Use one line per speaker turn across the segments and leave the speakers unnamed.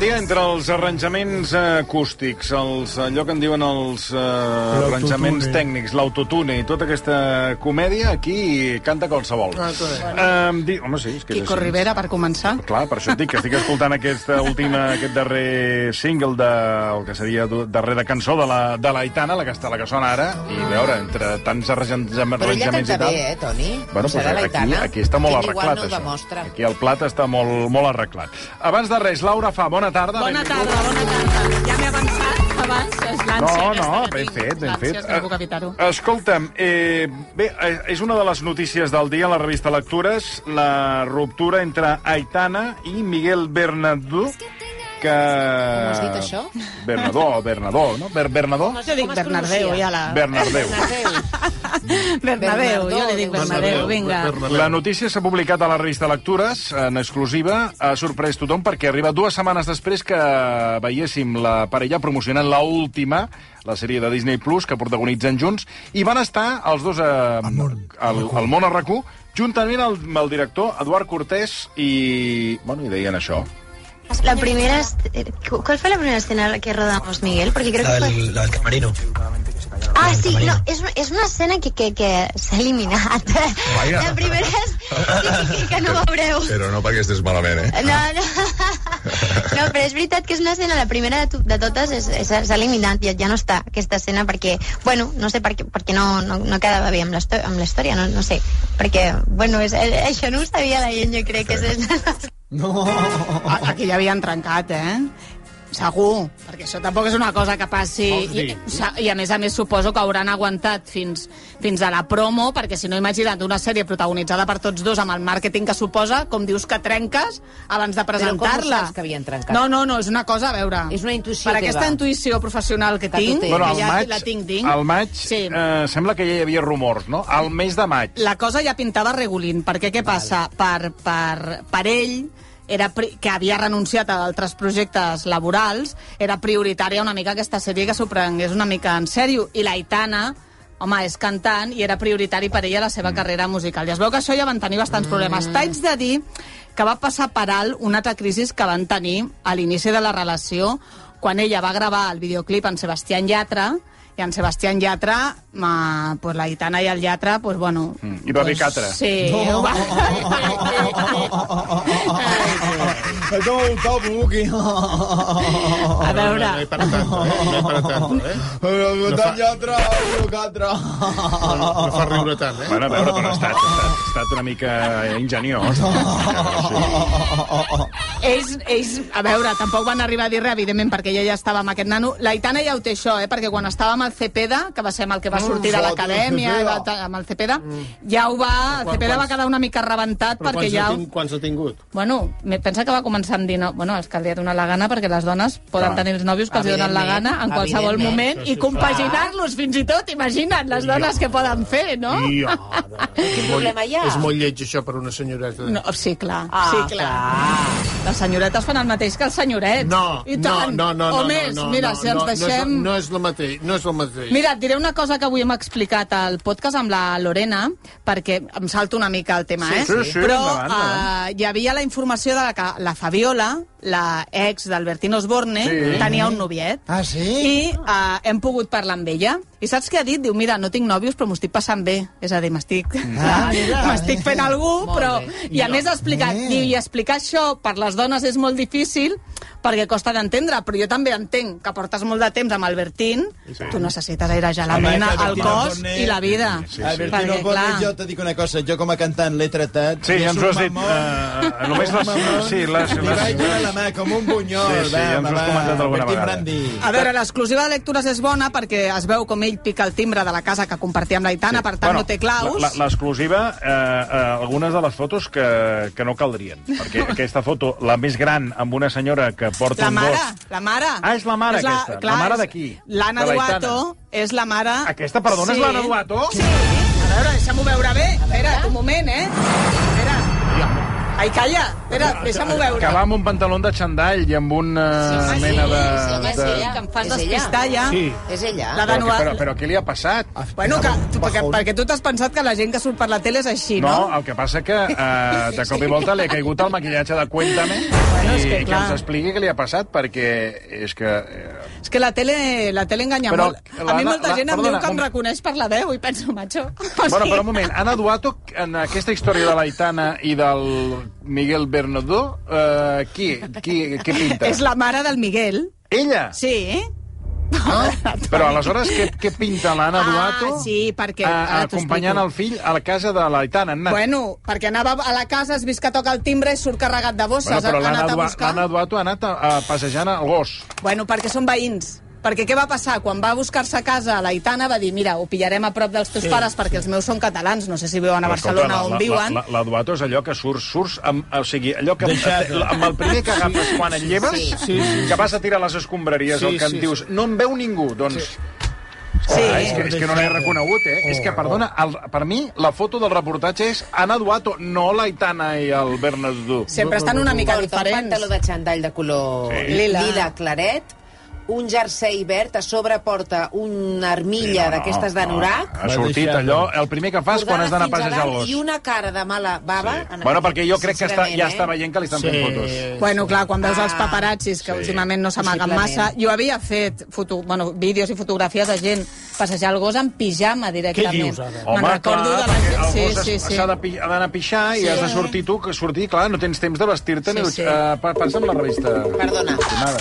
dia entre els arranjaments eh, acústics, els, eh, allò que en diuen els eh, arranjaments tècnics, l'autotune i tota aquesta comèdia, aquí canta qualsevol.
Ah, correcte.
Eh, di... Home, sí, és que és
Quico
així.
Rivera, per començar.
Clar, per això et dic que estic escoltant aquesta última, aquest darrer single de, el que seria du- darrera cançó de la, de la Itana, la que, està, la que sona ara, i a veure, entre tants arranjaments
Però ella
arranjaments i
canta
tal...
bé, eh, Toni?
Bueno,
Serà
doncs,
la
aquí,
Itana.
aquí està molt
Aquest igual
arreglat,
no ho
això.
demostra.
Aquí el plat està molt, molt arreglat. Abans de res, Laura fa bona tarda.
Bona
benvinguda.
tarda, bona tarda. Ja m'he avançat abans, és l'ànsia
No,
aquesta
no,
que
ben
tinc.
fet, ben fet.
L'ànsia, que no puc evitar-ho.
Eh, Escolta'm, eh, bé, eh, és una de les notícies del dia a la revista Lectures, la ruptura entre Aitana i Miguel Bernadú, que... Com
has dit, això?
Bernadó, o Bernadó, no? Ber Bernadó?
Jo dic Bernardeu, ja la...
Bernardeu.
Bernabéu, jo li dic
Bernabéu,
Bernabéu, vinga.
La notícia s'ha publicat a la revista Lectures, en exclusiva, ha sorprès tothom perquè arriba dues setmanes després que veiéssim la parella promocionant la última, la sèrie de Disney Plus que protagonitzen junts, i van estar els dos a, al, al món a RAC1, juntament al- amb el director Eduard Cortés i... Bueno, i deien això.
La primera... est- eh, cu- ¿Cuál fue la primera escena que rodamos, Miguel? Porque creo
La
que fue...
del, la del camarino.
Ah, sí,
camarino.
no, es, una- es una escena que, que, que s'ha eliminat.
Vaja.
La primera és sí, que, que no veureu.
Però no perquè estés malament, eh?
No, no. no, però és veritat que és una escena, la primera de, to- de totes és- és- s'ha eliminat, ja, ja no està aquesta escena perquè, bueno, no sé per què, perquè no, no, no quedava bé amb la, histò- amb la història, no, no sé, perquè, bueno, és, eh, això no ho sabia la gent, jo crec que és...
No.
Ah, Aquí ja havien trencat, eh? Segur, perquè això tampoc és una cosa que passi...
Vols
I,
dir?
sa- I a més a més suposo que hauran aguantat fins, fins a la promo, perquè si no imagina't una sèrie protagonitzada per tots dos amb el màrqueting que suposa, com dius que trenques abans
com
de
ho
presentar-la.
saps que havien trencat?
No, no, no, és una cosa, a veure...
És una intuïció
Per
teva.
aquesta intuïció professional que,
Que tu
tinc,
tens.
Bueno,
que
al
ja
maig,
la tinc, tinc...
al maig
Sí.
eh, sembla que ja hi havia rumors, no? Al mes de maig.
la cosa ja pintava regulint, perquè què passa? Per, per, per ell, era pri- que havia renunciat a altres projectes laborals, era prioritària una mica aquesta sèrie que s'ho prengués una mica en sèrio, i la Itana home, és cantant i era prioritari per ella la seva carrera musical. I es veu que això ja van tenir bastants problemes. T'haig de dir que va passar per alt una altra crisi que van tenir a l'inici de la relació quan ella va gravar el videoclip amb Sebastián Llatra i en Sebastián Llatra, ma, pues la gitana i el Llatra, pues bueno...
Mm, hi va haver
pues,
catra.
Sí, ho va...
És com un top, Buki.
A veure...
No, no, no, no, no és per tant, eh?
No
fa-
lletra, lletra.
No, no, no fa riure tant, eh?
Bueno, a veure, però ha estat, ha estat, ha estat una mica ingeniós. Sí.
Ells, ells, a veure, tampoc van arribar a dir res, evidentment, perquè ella ja estava amb aquest nano. La Itana ja ho té això, eh? perquè quan estava amb el Cepeda, que va ser amb el que va sortir de
foto,
l'acadèmia,
Cepeda.
i va ta- amb el Cepeda, ja ho va... El
Quan-
Cepeda va
quants-
quedar una mica rebentat
Però
perquè
quants,
ja...
ha tingut, quants ha tingut?
Bueno, me pensa que va començar amb 19... Bueno, és que li ha donat la gana perquè les dones poden
Clar.
tenir els nòvios que els donen la gana en qualsevol
evidentment.
moment i compaginar-los fins i tot, imagina't les dones que poden fer, no?
Ja, no. Quin
problema hi ha?
És molt lleig, això, per una senyoreta.
No, sí, clar,
Ah,
sí, clar. Les senyoretes fan el mateix que els senyorets.
No,
I
no,
tant.
no, no, no,
O més,
no, no,
mira,
no,
si ens
no,
deixem...
No és, no és el mateix, no és el mateix.
Mira, et diré una cosa que avui hem explicat al podcast amb la Lorena, perquè em salto una mica el tema,
Sí,
eh?
sí, sí,
Però
endavant,
eh, hi havia la informació de que la Fabiola, la ex d'Albertino Osborne,
Sí.
tenia un noviet.
Ah, sí?
I eh, hem pogut parlar amb ella. I saps què ha dit? Diu, mira, no tinc nòvios, però m'ho estic passant bé. És a dir, m'estic
Ah, mira.
m'estic fent algú,
Molt
però...
bé.
I a més explicar,
Bé.
diu, i explicar això per les dones és molt difícil perquè costa d'entendre, però jo també entenc que portes molt de temps amb Albertín, tu necessites airejar la
Home,
mena,
que
el
Albertín
cos
Osborne-
i la vida.
Sí, sí.
Albertino
Perquè,
Gómez,
clar.
jo te dic una cosa, jo com a cantant l'he tratat...
Sí,
i
ja
és
ens ho
un
has dit.
mamón.
eh, només les... Sí, les,
Li
les,
vaig donar la mà com un
Sí,
bunyol,
sí, ja ens ho has
va,
comentat alguna
Bertín
vegada.
Brandi.
A veure, l'exclusiva de lectures és bona perquè es veu com ell pica el timbre de la casa que compartia amb l'Aitana, per tant no té claus.
la- la- L'exclusiva, eh, eh, algunes de les fotos que, que no caldrien. Perquè aquesta foto, la més gran, amb una senyora que porta
La
un
mare,
gos...
la mare.
Ah, és la mare, aquesta. La mare d'aquí,
és L'Anna
de la Aitana.
Duato és la mare...
Aquesta, perdona, és l'Anna Duato?
Sí. A veure, deixa'm-ho veure bé. Espera, un moment, eh? Espera. Ai, calla! Espera, deixa'm-ho veure.
Que va amb un pantaló de xandall i amb una
Sí, sí,
mena
sí,
de...
sí, home,
de...
sí,
Que em fas
És ella.
despistar, ja.
Sí.
És ella.
Però,
La Danu...
però, però, però què li ha passat?
Bueno, que, tu, perquè,
Bajón.
perquè tu t'has pensat que la gent que surt per la tele és així,
No,
no?
el que passa que eh, de cop i volta li ha caigut el maquillatge de Cuéntame
Bueno, és
i
que,
que
clar.
ens expliqui què li ha passat, perquè és que... Eh,
És que la tele, la tele enganya
Però,
molt. A mi
l'Anna-
molta
la-
gent em
perdona,
diu que em
un-
reconeix per la veu i penso, macho... o
Bueno,
sigui-
però un moment, Ana Duato, en aquesta història de l'Aitana i del Miguel Bernadó, eh, qui, qui, què pinta?
És la mare del Miguel.
Ella?
Sí, eh?
Però aleshores què, què pinta l'Anna Duato
Ah, sí, perquè...
a,
ara t'ho
acompanyant
explico.
el fill a la casa de l'Aitana? Anna.
Bueno, perquè anava a la casa, has vist que toca el timbre i surt carregat de bosses.
bueno però
ha
l'Anna
anat a
Dua-
buscar.
l'Anna Duato ha anat a, a passejant el gos.
Bueno, perquè són veïns. Perquè què va passar? Quan va a buscar-se a casa la Itana va dir, mira, ho pillarem a prop dels teus sí, pares perquè els meus són catalans, no sé si viuen a Barcelona
Escolta,
on viuen.
La, la, la Duato és allò que surts, surts amb, o sigui, allò que
Deixat.
amb el primer que agafes quan et lleves,
Sí,
sí, sí.
que vas a tirar les escombraries,
Sí,
el que em
sí,
dius, no em veu ningú, doncs...
Sí,
Ah, és, que, és que no l'he reconegut, eh? és que, perdona, el, per mi la foto del reportatge és Anna Duato, no l'Aitana i el Bernadú.
sempre estan una mica
Porta un
diferents.
pantaló de xandall de color
Sí.
Lila.
lila, lila claret, un jersei verd, a sobre porta una armilla
No, no,
d'aquestes d'anorac,
Ha sortit allò, el primer que fas quan has d'anar a
Bordada fins
passejar el
dalt
gos.
I una cara de mala bava. Sí.
Bueno, perquè jo crec que està, ja
eh?
està veient que li estan fent
Sí.
fotos.
Bueno, clar, quan veus els
Ah,
paparazzis, que
sí.
últimament no s'amaguen
Possiblement.
massa... Jo havia fet foto, bueno, vídeos i fotografies de gent passejar el gos en pijama directament.
Què dius ara?
Me'n recordo de la
perquè
gent...
el gos
Sí, sí,
es-
sí.
s'ha de pi- ha d'anar a pixar i has de sortir tu, que sortir, clar, no tens temps de vestir-te ni...
Sí,
Sí.
sí.
Uh, Passa'm la revista.
Perdona.
Estimada.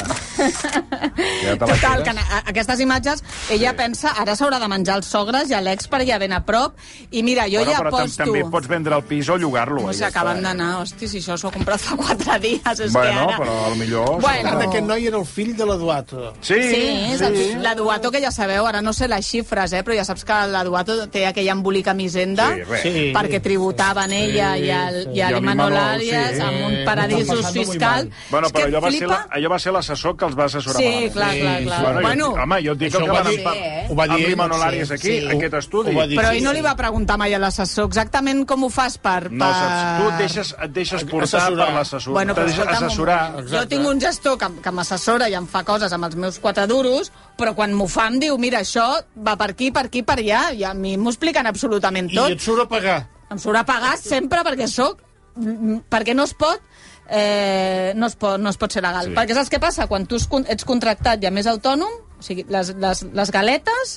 Ja te la
Total,
quedes.
que a- aquestes imatges, ella sí. pensa, ara s'haurà de menjar els sogres i a l'ex per allà ben a prop, i mira, jo
Bueno,
ja
però tam-
aposto...
també pots vendre el pis o llogar-lo.
No
eh,
sé,
ja
acaben
està.
d'anar, hosti, si això s'ho ha comprat fa quatre dies, és
Bueno,
que ara...
però a lo millor-
Bueno,
Ara aquest noi era el fill de la Duato.
Sí,
Sí, és el, la Duato, que ja sabeu, ara no sé les xifres, eh, però ja saps que la Duato té aquella embolica misenda
Sí, res.
Sí.
perquè tributaven ella i el, i el
I a
Imanol
l'Imanol,
Arias
sí.
amb un
Eh,
m'ho
paradisos
estan passant
fiscal.
molt mal.
Bueno,
És
però
que
allò va, ser
flipa.
la, allò va ser l'assessor que els va assessorar
Sí,
malament.
clar, clar, clar.
Bueno, bueno,
Bueno,
jo, home, jo et dic
Això
el
ho
que
va
van
dir,
empar-
eh?
Ho va dir
amb
ell,
l'Imanol
sí.
Arias aquí,
Sí.
aquest estudi.
Ho va dir.
Però
Sí,
ell no
sí,
li va preguntar mai a l'assessor exactament com ho fas per... per...
No, saps, tu et deixes, et deixes portar
Assessorar.
per l'assessor.
Bueno,
te
però
deixes
escolta'm un
assessorar.
moment. Jo tinc un gestor que, que m'assessora i em fa coses amb els meus quatre duros, però quan m'ho fa em diu, mira, això va per aquí, per aquí, per allà, i a mi m'ho expliquen absolutament
I
tot.
et surt a pagar.
Em surt a pagar sempre perquè sóc... mm, perquè no es pot... Eh, no, es pot, no es pot ser legal.
Sí.
Sí. Perquè saps què passa? Quan tu es con- ets contractat i a més autònom, o sigui, les, les, les galetes,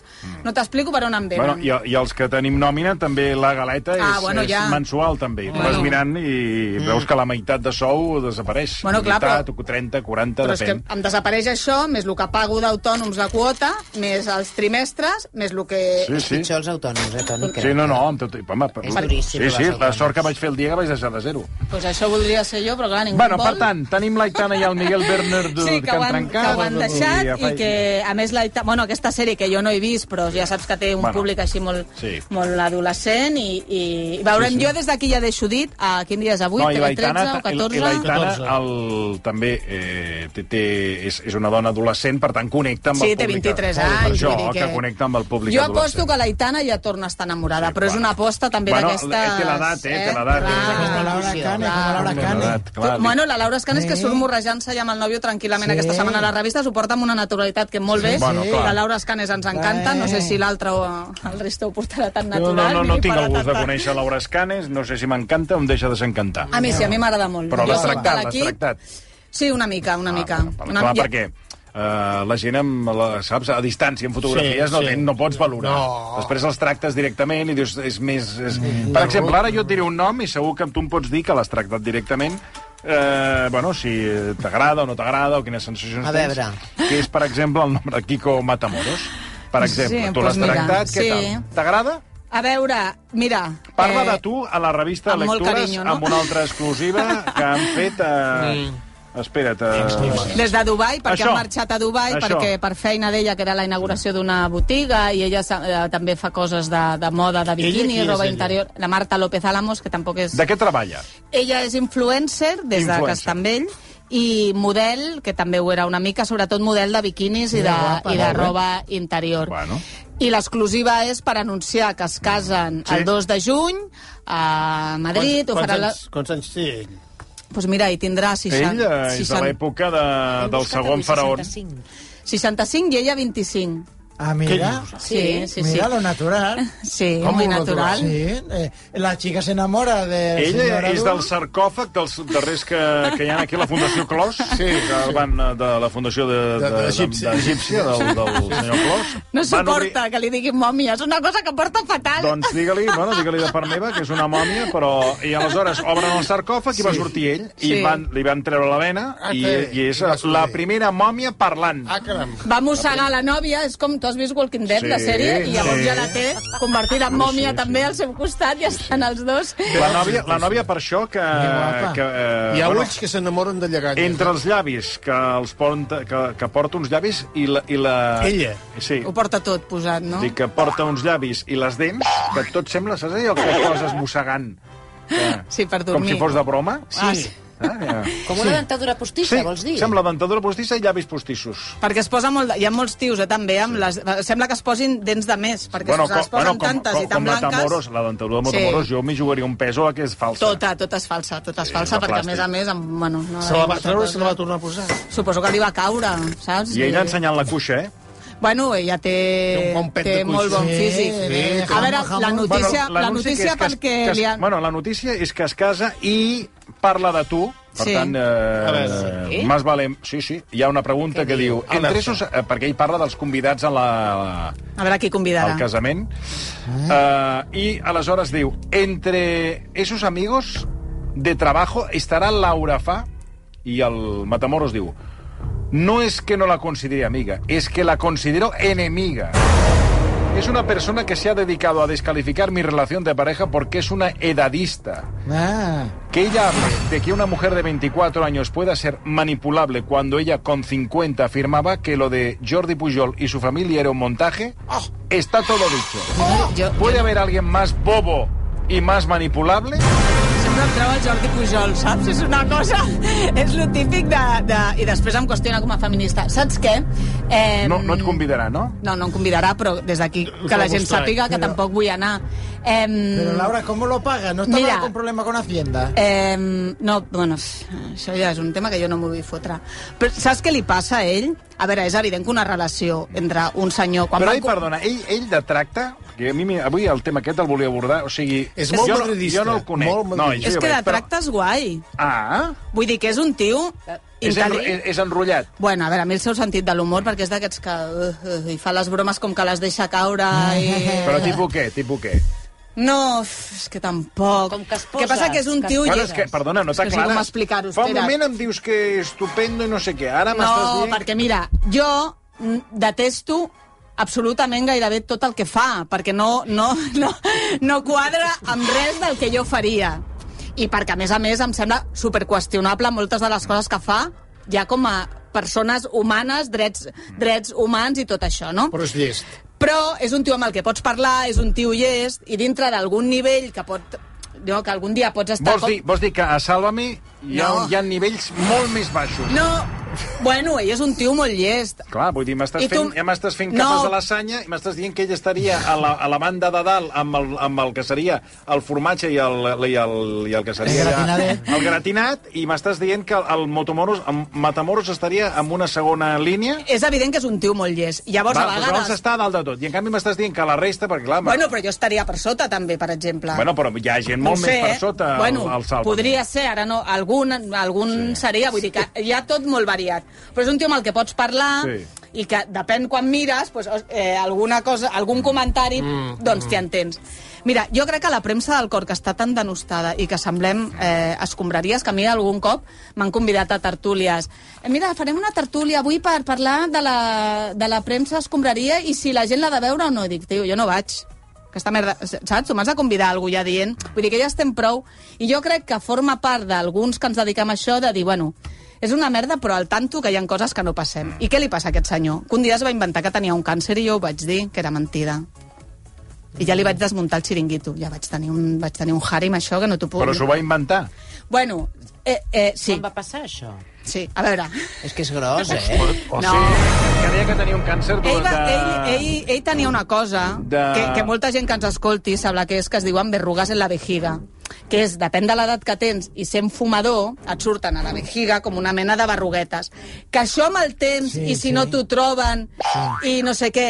no t'explico per on em venen.
Mm. Bueno, i, I els que tenim nòmina, també la galeta és,
Ah, bueno, ja.
és mensual, també. Bueno. Vas
Bueno.
mirant i veus que la meitat de sou desapareix.
Bueno, clar,
meitat,
però-
o 30, 40,
Però és que
depèn.
em desapareix això, més el que pago d'autònoms de quota, més els trimestres, més el que...
Sí, sí.
Pitjor els autònoms, eh, Toni? crec.
Sí, no, no, amb tot... Home, per...
És duríssim,
sí, sí,
les
la
autònoms.
sort que vaig fer el dia que vaig deixar de zero.
Pues això voldria ser jo, però clar, ningú
Bueno,
em vol.
per tant, tenim l'Aitana i el Miguel Bernardo
Sí, que
han
ho han, que
trencat. doncs,
ho han deixat
ja
i
fa-
que, a més, la, Ita- bueno, aquesta sèrie que jo no he vist, però ja saps que té un
Bueno,
públic així molt,
sí.
molt adolescent i, i veurem,
Sí, sí.
jo des d'aquí ja deixo dit a quin dia és avui,
No, i l'Aitana,
TV13 o
i
14...
l'Aitana
14.
el, també eh, té, té, és, és una dona adolescent, per tant, connecta amb
Sí,
el
té
públic. eh?
23
Per
anys.
això,
vull dir
que connecta amb el públic
Jo
adolescent.
aposto que la Itana ja torna a estar enamorada,
Sí,
però és
bueno.
una aposta també
Bueno,
d'aquestes...
té l'edat, eh, té l'edat, eh.
Clar.
Com a Laura Cane, com a Laura
Una
Cane.
edat, clar, li-
Bueno, la Laura Escan és que surt morrejant-se ja amb el nòvio tranquil·lament
Sí.
aquesta setmana a la revista, s'ho porta amb una naturalitat que molt bé.
Bueno, clar.
la Laura Escan ens encanta,
Eh.
no sé si l'altre o el Risto ho portarà tan
No,
natural.
no, no,
ni
no
li
tinc
farà
el gust de
tanta-
conèixer Laura Escanes, no sé si m'encanta o em deixa desencantar.
A mi sí, a mi m'agrada molt.
Però l'has
Jo soc de
tractat, l'has
l'equip.
tractat.
Sí, una mica, una mica.
Ah, però,
una,
clar,
ja-
perquè Uh, la gent, amb la, saps, a distància, en fotografies,
Sí,
no,
sí.
ten, no pots valorar.
No.
Després els tractes directament i dius, és més... És... Per exemple, ara jo et diré un nom i segur que tu em pots dir que l'has tractat directament, eh, bueno, si t'agrada o no t'agrada, o quines sensacions
A
tens,
veure.
que és, per exemple, el nom de Kiko Matamoros. Per exemple,
Sí,
tu l'has
doncs mira,
tractat, què
sí.
tal? T'agrada?
A veure, mira...
Parla
eh,
de tu a la revista
amb molt
Lectures
carinyo, no?
amb una altra exclusiva que han fet... Eh... Espera't. Eh...
Des de Dubai, perquè
Això.
Això. ha marxat a Dubai,
Això.
perquè per feina d'ella, que era la inauguració d'una botiga, i ella sa- eh, també fa coses de, de moda, de
qui
biquini,
és
roba
ella?
interior. La Marta López Álamos, que tampoc és...
De què treballa?
Ella és influencer, des de
Influencer.
que està amb ell, i model, que també ho era una mica, sobretot model de biquinis i de, i de roba interior.
Bueno.
I l'exclusiva és per anunciar que es casen
Mm. Sí.
el 2 de juny a Madrid. ho
quants,
farà la...
anys, quants anys té ell?
Doncs mira, hi tindrà 60...
Ell eh, és de
60
l'època de, del segon faraó.
65 i ella 25.
Ah, mira.
Què
Sí, sí, sí.
Mira, lo natural.
Sí,
Com
muy
lo
natural.
Sí, eh, la chica se enamora de... la
Ella
senyora
és
Dun.
del sarcòfag dels darrers que, que hi ha aquí a la Fundació Clos, sí, que van, eh, de la Fundació de,
De-
de,
de
de,
l'Egipci.
d'Egípcia, del, del senyor Clos.
No
Van
suporta que li diguin mòmia, és una cosa que porta fatal.
Doncs digue-li, bueno, digue-li de part meva, que és una mòmia, però... I aleshores obren el sarcòfag i va sortir ell, i
Sí.
van, li van treure la vena,
Ah,
i,
sí,
i és
i va sortir.
la primera mòmia parlant.
Ah, caram.
Va mossegar la nòvia, és com tu has vist Walking Dead,
Sí,
la sèrie, i llavors
sí.
ja la té convertida en mòmia
sí.
també al seu costat, ja estan els dos.
La nòvia, la nòvia per això que...
guapa.
que eh,
Hi ha
bueno,
ulls que s'enamoren de lleganyes.
entre els llavis, que, els porta, que, que porta uns llavis i la... I la...
Ella.
Sí.
Ho porta tot posat, no?
Dir que porta uns llavis i les dents, que tot sembla, saps allò que coses mossegant? Que,
Sí, per
com
dormir.
si fos de broma?
Ah, sí.
Ah, ja.
Com una dentadura postissa,
Sí,
vols dir?
sembla dentadura postissa i llavis postissos.
Perquè es posa molt... de- Hi ha molts tios, eh, també, amb les... Sembla que es posin dents de més, perquè se les posen tantes
com,
i tan
com la
blanques...
Tamoros, la dentadura de
Sí.
Matamoros, jo m'hi jugaria un peso a que és falsa.
Tota, tota és falsa, tota és
Sí,
falsa,
de
perquè a més
plàstic.
a més... Amb, bueno,
Ah,
no
Se la va treure i se la va tornar a posar.
Suposo que li va caure, saps?
I ella ensenyant la cuixa, eh?
Bueno, ella té,
Té un bon pet
té
de cuix.
molt bon
Sí,
físic.
sí,
a
jamón,
veure, la
jamón.
notícia, la
l'anunci que
notícia
és que es-
perquè
que es,
li han...
Bueno, la notícia és que es casa i parla de tu, per
Sí.
tant, eh,
veure,
sí. més valem... Sí, sí, hi ha una pregunta que diu... Interessos, eh, perquè ell parla dels convidats a la,
A veure qui convidarà.
al casament. Ah. Uh, I aleshores diu, entre esos amigos de trabajo estará Laura Fa, i el Matamoros diu, no es que no la considere amiga, es que la considero enemiga. Es una persona que se ha dedicado a descalificar mi relación de pareja porque es una edadista.
Ah,
Que ella hable de que una mujer de 24 años pueda ser manipulable cuando ella con 50 afirmaba que lo de Jordi Pujol y su familia era un montaje, está todo dicho.
Jo,
¿Puede haber alguien más bobo y más manipulable?
sempre em treu el Jordi Pujol, saps? És una cosa... És lo típic de, de... I després em qüestiona com a feminista. Saps què? Eh,
No, no et convidarà, no?
No, no em convidarà, però des d'aquí que la gent sàpiga que tampoc vull anar. Eh,
pero Laura, ¿cómo lo paga? ¿No estaba
Mira.
con problema con Hacienda?
Eh, no, bueno, això ja és un tema que jo no m'ho vull fotre. Però saps què li passa a ell? A veure, és evident que una relació entre un senyor... Quan
Però
van
ell,
co-
perdona, ell, ell de tracte, que a mi m'hi- avui el tema aquest el volia abordar, o sigui...
És molt
jo, no-
madridista,
Jo no el conec.
molt
no,
madridista.
jo
És
ja
que
veig,
de tracte és guai.
Però... Ah,
Vull dir que és un tio...
és, enro
intel·ligent.
és, és enrotllat.
Bueno, a veure, a mi el seu sentit de l'humor, perquè és d'aquests que... Uh, uh, i fa les bromes com que les deixa caure i...
Però tipus què, tipus què?
No, uf, és que tampoc.
Com que es
Què passa que és un
poses,
tio...
que
Bueno,
i-
és que, perdona, no
És que sé
t'aclares.
com explicar-ho,
Fa un
espera't.
moment em dius que estupendo i no sé què. Ara m'estàs
No,
dient...
perquè mira, jo mm, detesto absolutament gairebé tot el que fa, perquè no, no, no, no quadra amb res del que jo faria. I perquè, a més a més, em sembla superqüestionable moltes de les coses que fa, ja com a persones humanes, drets, drets humans i tot això, no?
Però és llest.
Però és un tio amb el que pots parlar, és un tio llest, i dintre d'algun nivell que pot... No, que algun dia pots estar...
Vols dir, vols dir que a Sálvame hi ha,
No.
no. hi ha nivells molt més baixos?
No, bueno, ell és un tio molt llest.
Clar, vull dir, m'estàs
I tu-
fent, ja m'estàs fent
No.
capes de la sanya i m'estàs dient que ell estaria a la, a la banda de dalt amb el, amb el que seria el formatge i el, i el, i el que seria...
El gratinadet.
El gratinat, i m'estàs dient que el Motomoros, el Matamoros estaria en una segona línia?
És evident que és un tio molt llest. Llavors, a
doncs llavors
vegades...
està a dalt de tot. I en canvi m'estàs dient que la resta, perquè clar...
Bueno, però jo estaria per sota, també, per exemple.
bueno, però hi ha gent molt
ho sé,
més per
eh?
sota al-
bueno,
al, Sálvame.
Podria ser, ara no, algun, algun sí. seria, vull dir que hi ha tot molt variat. Però és un tio amb el que pots parlar
Sí.
i que depèn quan mires, doncs, os- eh, alguna cosa,
Mm.
algun comentari, doncs t'hi entens. Mira, jo crec que la premsa del cor, que està tan denostada i que semblem eh, escombraries, que a mi algun cop m'han convidat a tertúlies. Eh, mira, farem una tertúlia avui per parlar de la, de la premsa escombraria i si la gent l'ha de veure o no. I dic, tio, jo no vaig aquesta merda, saps? Tu m'has de convidar a algú ja dient. Vull dir que ja estem prou. I jo crec que forma part d'alguns que ens dediquem a això de dir, bueno, és una merda, però al tanto que hi ha coses que no passem. I què li passa a aquest senyor? Que un dia es va inventar que tenia un càncer i jo ho vaig dir, que era mentida. I ja li vaig desmuntar el xiringuito. Ja vaig tenir un, vaig tenir un harem, això, que no t'ho puc...
Però s'ho va inventar.
Bueno, eh, eh, sí,
Quan va passar això?
sí, a veure.
És que és gros, eh?
O no. sigui, creia que tenia un càncer doncs, de...
Ell, va, ell, ell, ell tenia una cosa
De-
que, que molta gent que ens escolti sabrà que és que es diuen verrugues en la vejiga. que és, depèn de l'edat que tens, i sent fumador, et surten a la vejiga com una mena de barruguetes. Que això amb el temps,
Sí,
i si
sí.
no t'ho troben, i no sé què,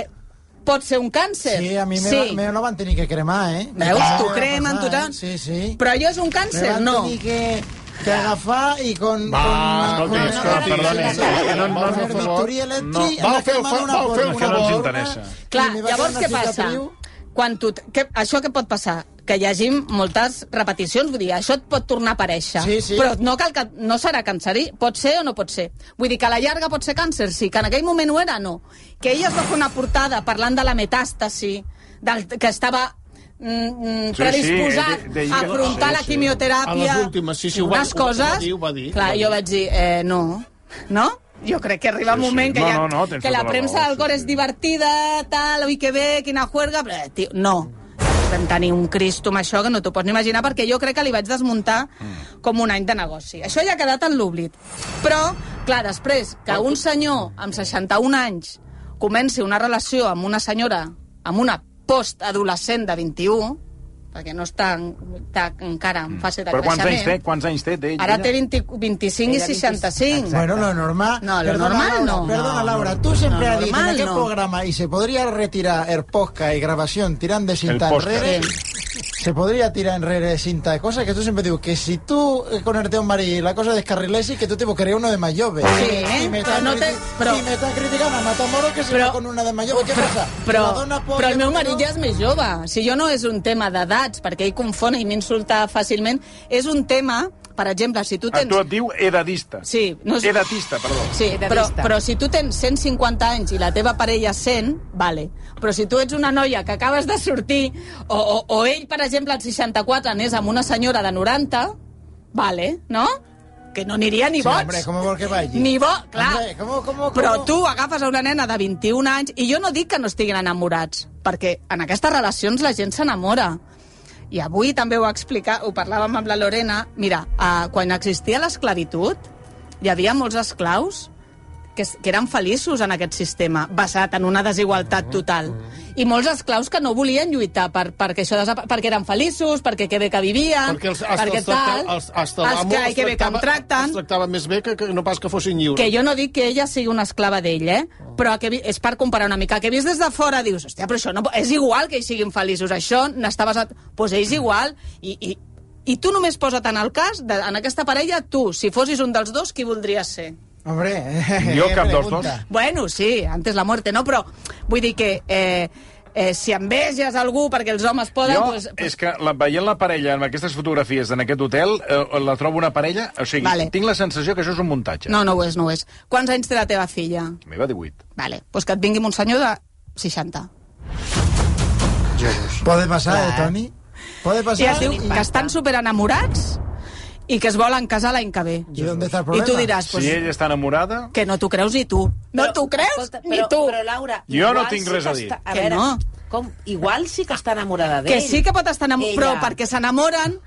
pot ser un càncer.
Sí, a mi me, va- me lo van tenir que cremar, eh?
Veus?
Ah,
T'ho
me va
cremen,
passar,
t'ho tal.
eh? Sí, sí.
Però allò és un
me
càncer,
van
no.
tenir que, que agafar i con...
Va,
con,
escolti, escolti, perdoni.
Que no, no,
no, per favor.
Victoria Electric,
No, vau
anar
fer-
cremant una
vau fer
por-
un
favor. Això
una borna,
no ens interessa.
Clar,
i me va
llavors
fer
què
una
passa?
cicatriu.
Quan tu, que, això què pot passar? Que hi hagi moltes repeticions, vull dir, això et pot tornar a aparèixer.
Sí, sí.
Però no, cal que, no serà cancerí, pot ser o no pot ser. Vull dir que a la llarga pot ser càncer, sí, que en aquell moment ho era, no. Que ella es va fer una portada parlant de la metàstasi, del, que estava mm, mm,
Sí,
predisposat
sí, de- de-
a afrontar
sí,
la
sí.
quimioteràpia.
A les últimes, sí, sí, ho va-
unes
ho va
coses,
dir, ho va dir,
Clar,
ho va dir.
jo vaig dir, eh, no, no? Jo crec que arriba
Sí,
un
sí.
moment que,
No,
ja,
no, no, tens
que la
tota la
premsa
raó,
del cor
sí,
és
sí.
divertida, tal, ui, que bé, quina juerga... Però, eh, tio, no. Vam tenir un cristo amb això que no t'ho pots ni imaginar perquè jo crec que li vaig desmuntar
Mm.
com un any de negoci. Això ja ha quedat en l'oblit. Però, clar, després que un senyor amb 61 anys comenci una relació amb una senyora, amb una postadolescent de 21, perquè no està, en, està encara en fase de
Mm. Però quants anys
creixement...
té? Quants anys té? té
Ara té 20, 25 i 65.
Bueno, lo normal...
No, lo
Perdona,
normal
Laura,
no.
Perdona,
No.
Laura, tú siempre
Lo
has dicho en
normal
aquel
no.
programa y se podría retirar el podcast y grabación tirando de cinta
El
en
podcast.
redes... Se podría tirar en redes cinta de cosas que tú siempre digo que si tú eh, con el Teo Marí la cosa descarrilese que tú te buscarías uno de Mayove.
Sí,
y me
eh,
estás
però no te-
criti-
però-
y me estás criticando a Matamoros que se
Però-
va con una de Mayove. ¿Qué pasa?
Però,
La dona pobre,
però el meu marit
no?
ja és més jove. Si jo no és un tema d'edats, perquè ell confon i m'insulta fàcilment, és un tema, per exemple, si tu
A
tens...
tu et diu edadista.
Sí, no és-
Edatista, perdó.
Sí,
He de
però,
vista.
però si tu tens 150 anys i la teva parella 100, vale. Però si tu ets una noia que acabes de sortir, o, o, o ell, per exemple, al 64 anés amb una senyora de 90, vale, no? Que no aniria ni
Sí,
boig.
hombre, ¿cómo porque vaya?
Ni bo, clar.
Hombre, ¿cómo, cómo, cómo?
Però tu agafes a una nena de 21 anys i jo no dic que no estiguin enamorats, perquè en aquestes relacions la gent s'enamora. I avui també ho explicar, ho parlàvem amb la Lorena, mira, eh, quan existia l'esclavitud, hi havia molts esclaus que, es- que eren feliços en aquest sistema, basat en una desigualtat total. I molts esclaus que no volien lluitar per, perquè, això desapa- perquè eren feliços, perquè que bé que vivien,
Perquè els, hasta
perquè
els,
tal,
tracta- els, hasta
els
l'amo
que,
els
que bé que em
tractava-
tracten...
Els tractava més bé que, que no pas que fossin lliures.
Que jo no dic que ella sigui una esclava d'ell, eh?
Oh.
Però que vi- és per comparar una mica. Que vist des de fora dius, hòstia, però això no... po- És igual que ells siguin feliços, això n'està basat... Doncs pues és igual, i... i i tu només posa't en el cas, de, en aquesta parella, tu, si fossis un dels dos, qui voldries ser?
Hombre,
Yo,
qué
cap dos,
pregunta.
dos.
Bueno, sí, antes la muerte, no? Però vull dir que eh, eh, si enveges algú perquè els homes poden...
Jo,
pues,
és que la, veient la parella en aquestes fotografies en aquest hotel, eh, la trobo una parella... O sigui,
Vale.
tinc la sensació que això és un muntatge.
No, no ho és, no ho és. Quants anys té la teva filla?
La meva 18.
Vale, doncs pues que et vingui un senyor de 60.
¿Puede pasar, eh, Toni? ¿Puede
Sí, es
pasar?
diu que estan super enamorats i que es volen casar l'any que ve.
¿Y dónde está el
I
problema?
tu diràs,
Si
pues,
ella està enamorada...
que no t'ho creus ni tu. No t'ho creus
escolta,
ni tu.
Però, Laura,
Jo
igual
no tinc
sí
res a
que
dir.
està- A
Que
veure,
no.
com, igual sí que està enamorada d'ell.
que sí que pot estar enamorada, però
Ella.
perquè s'enamoren,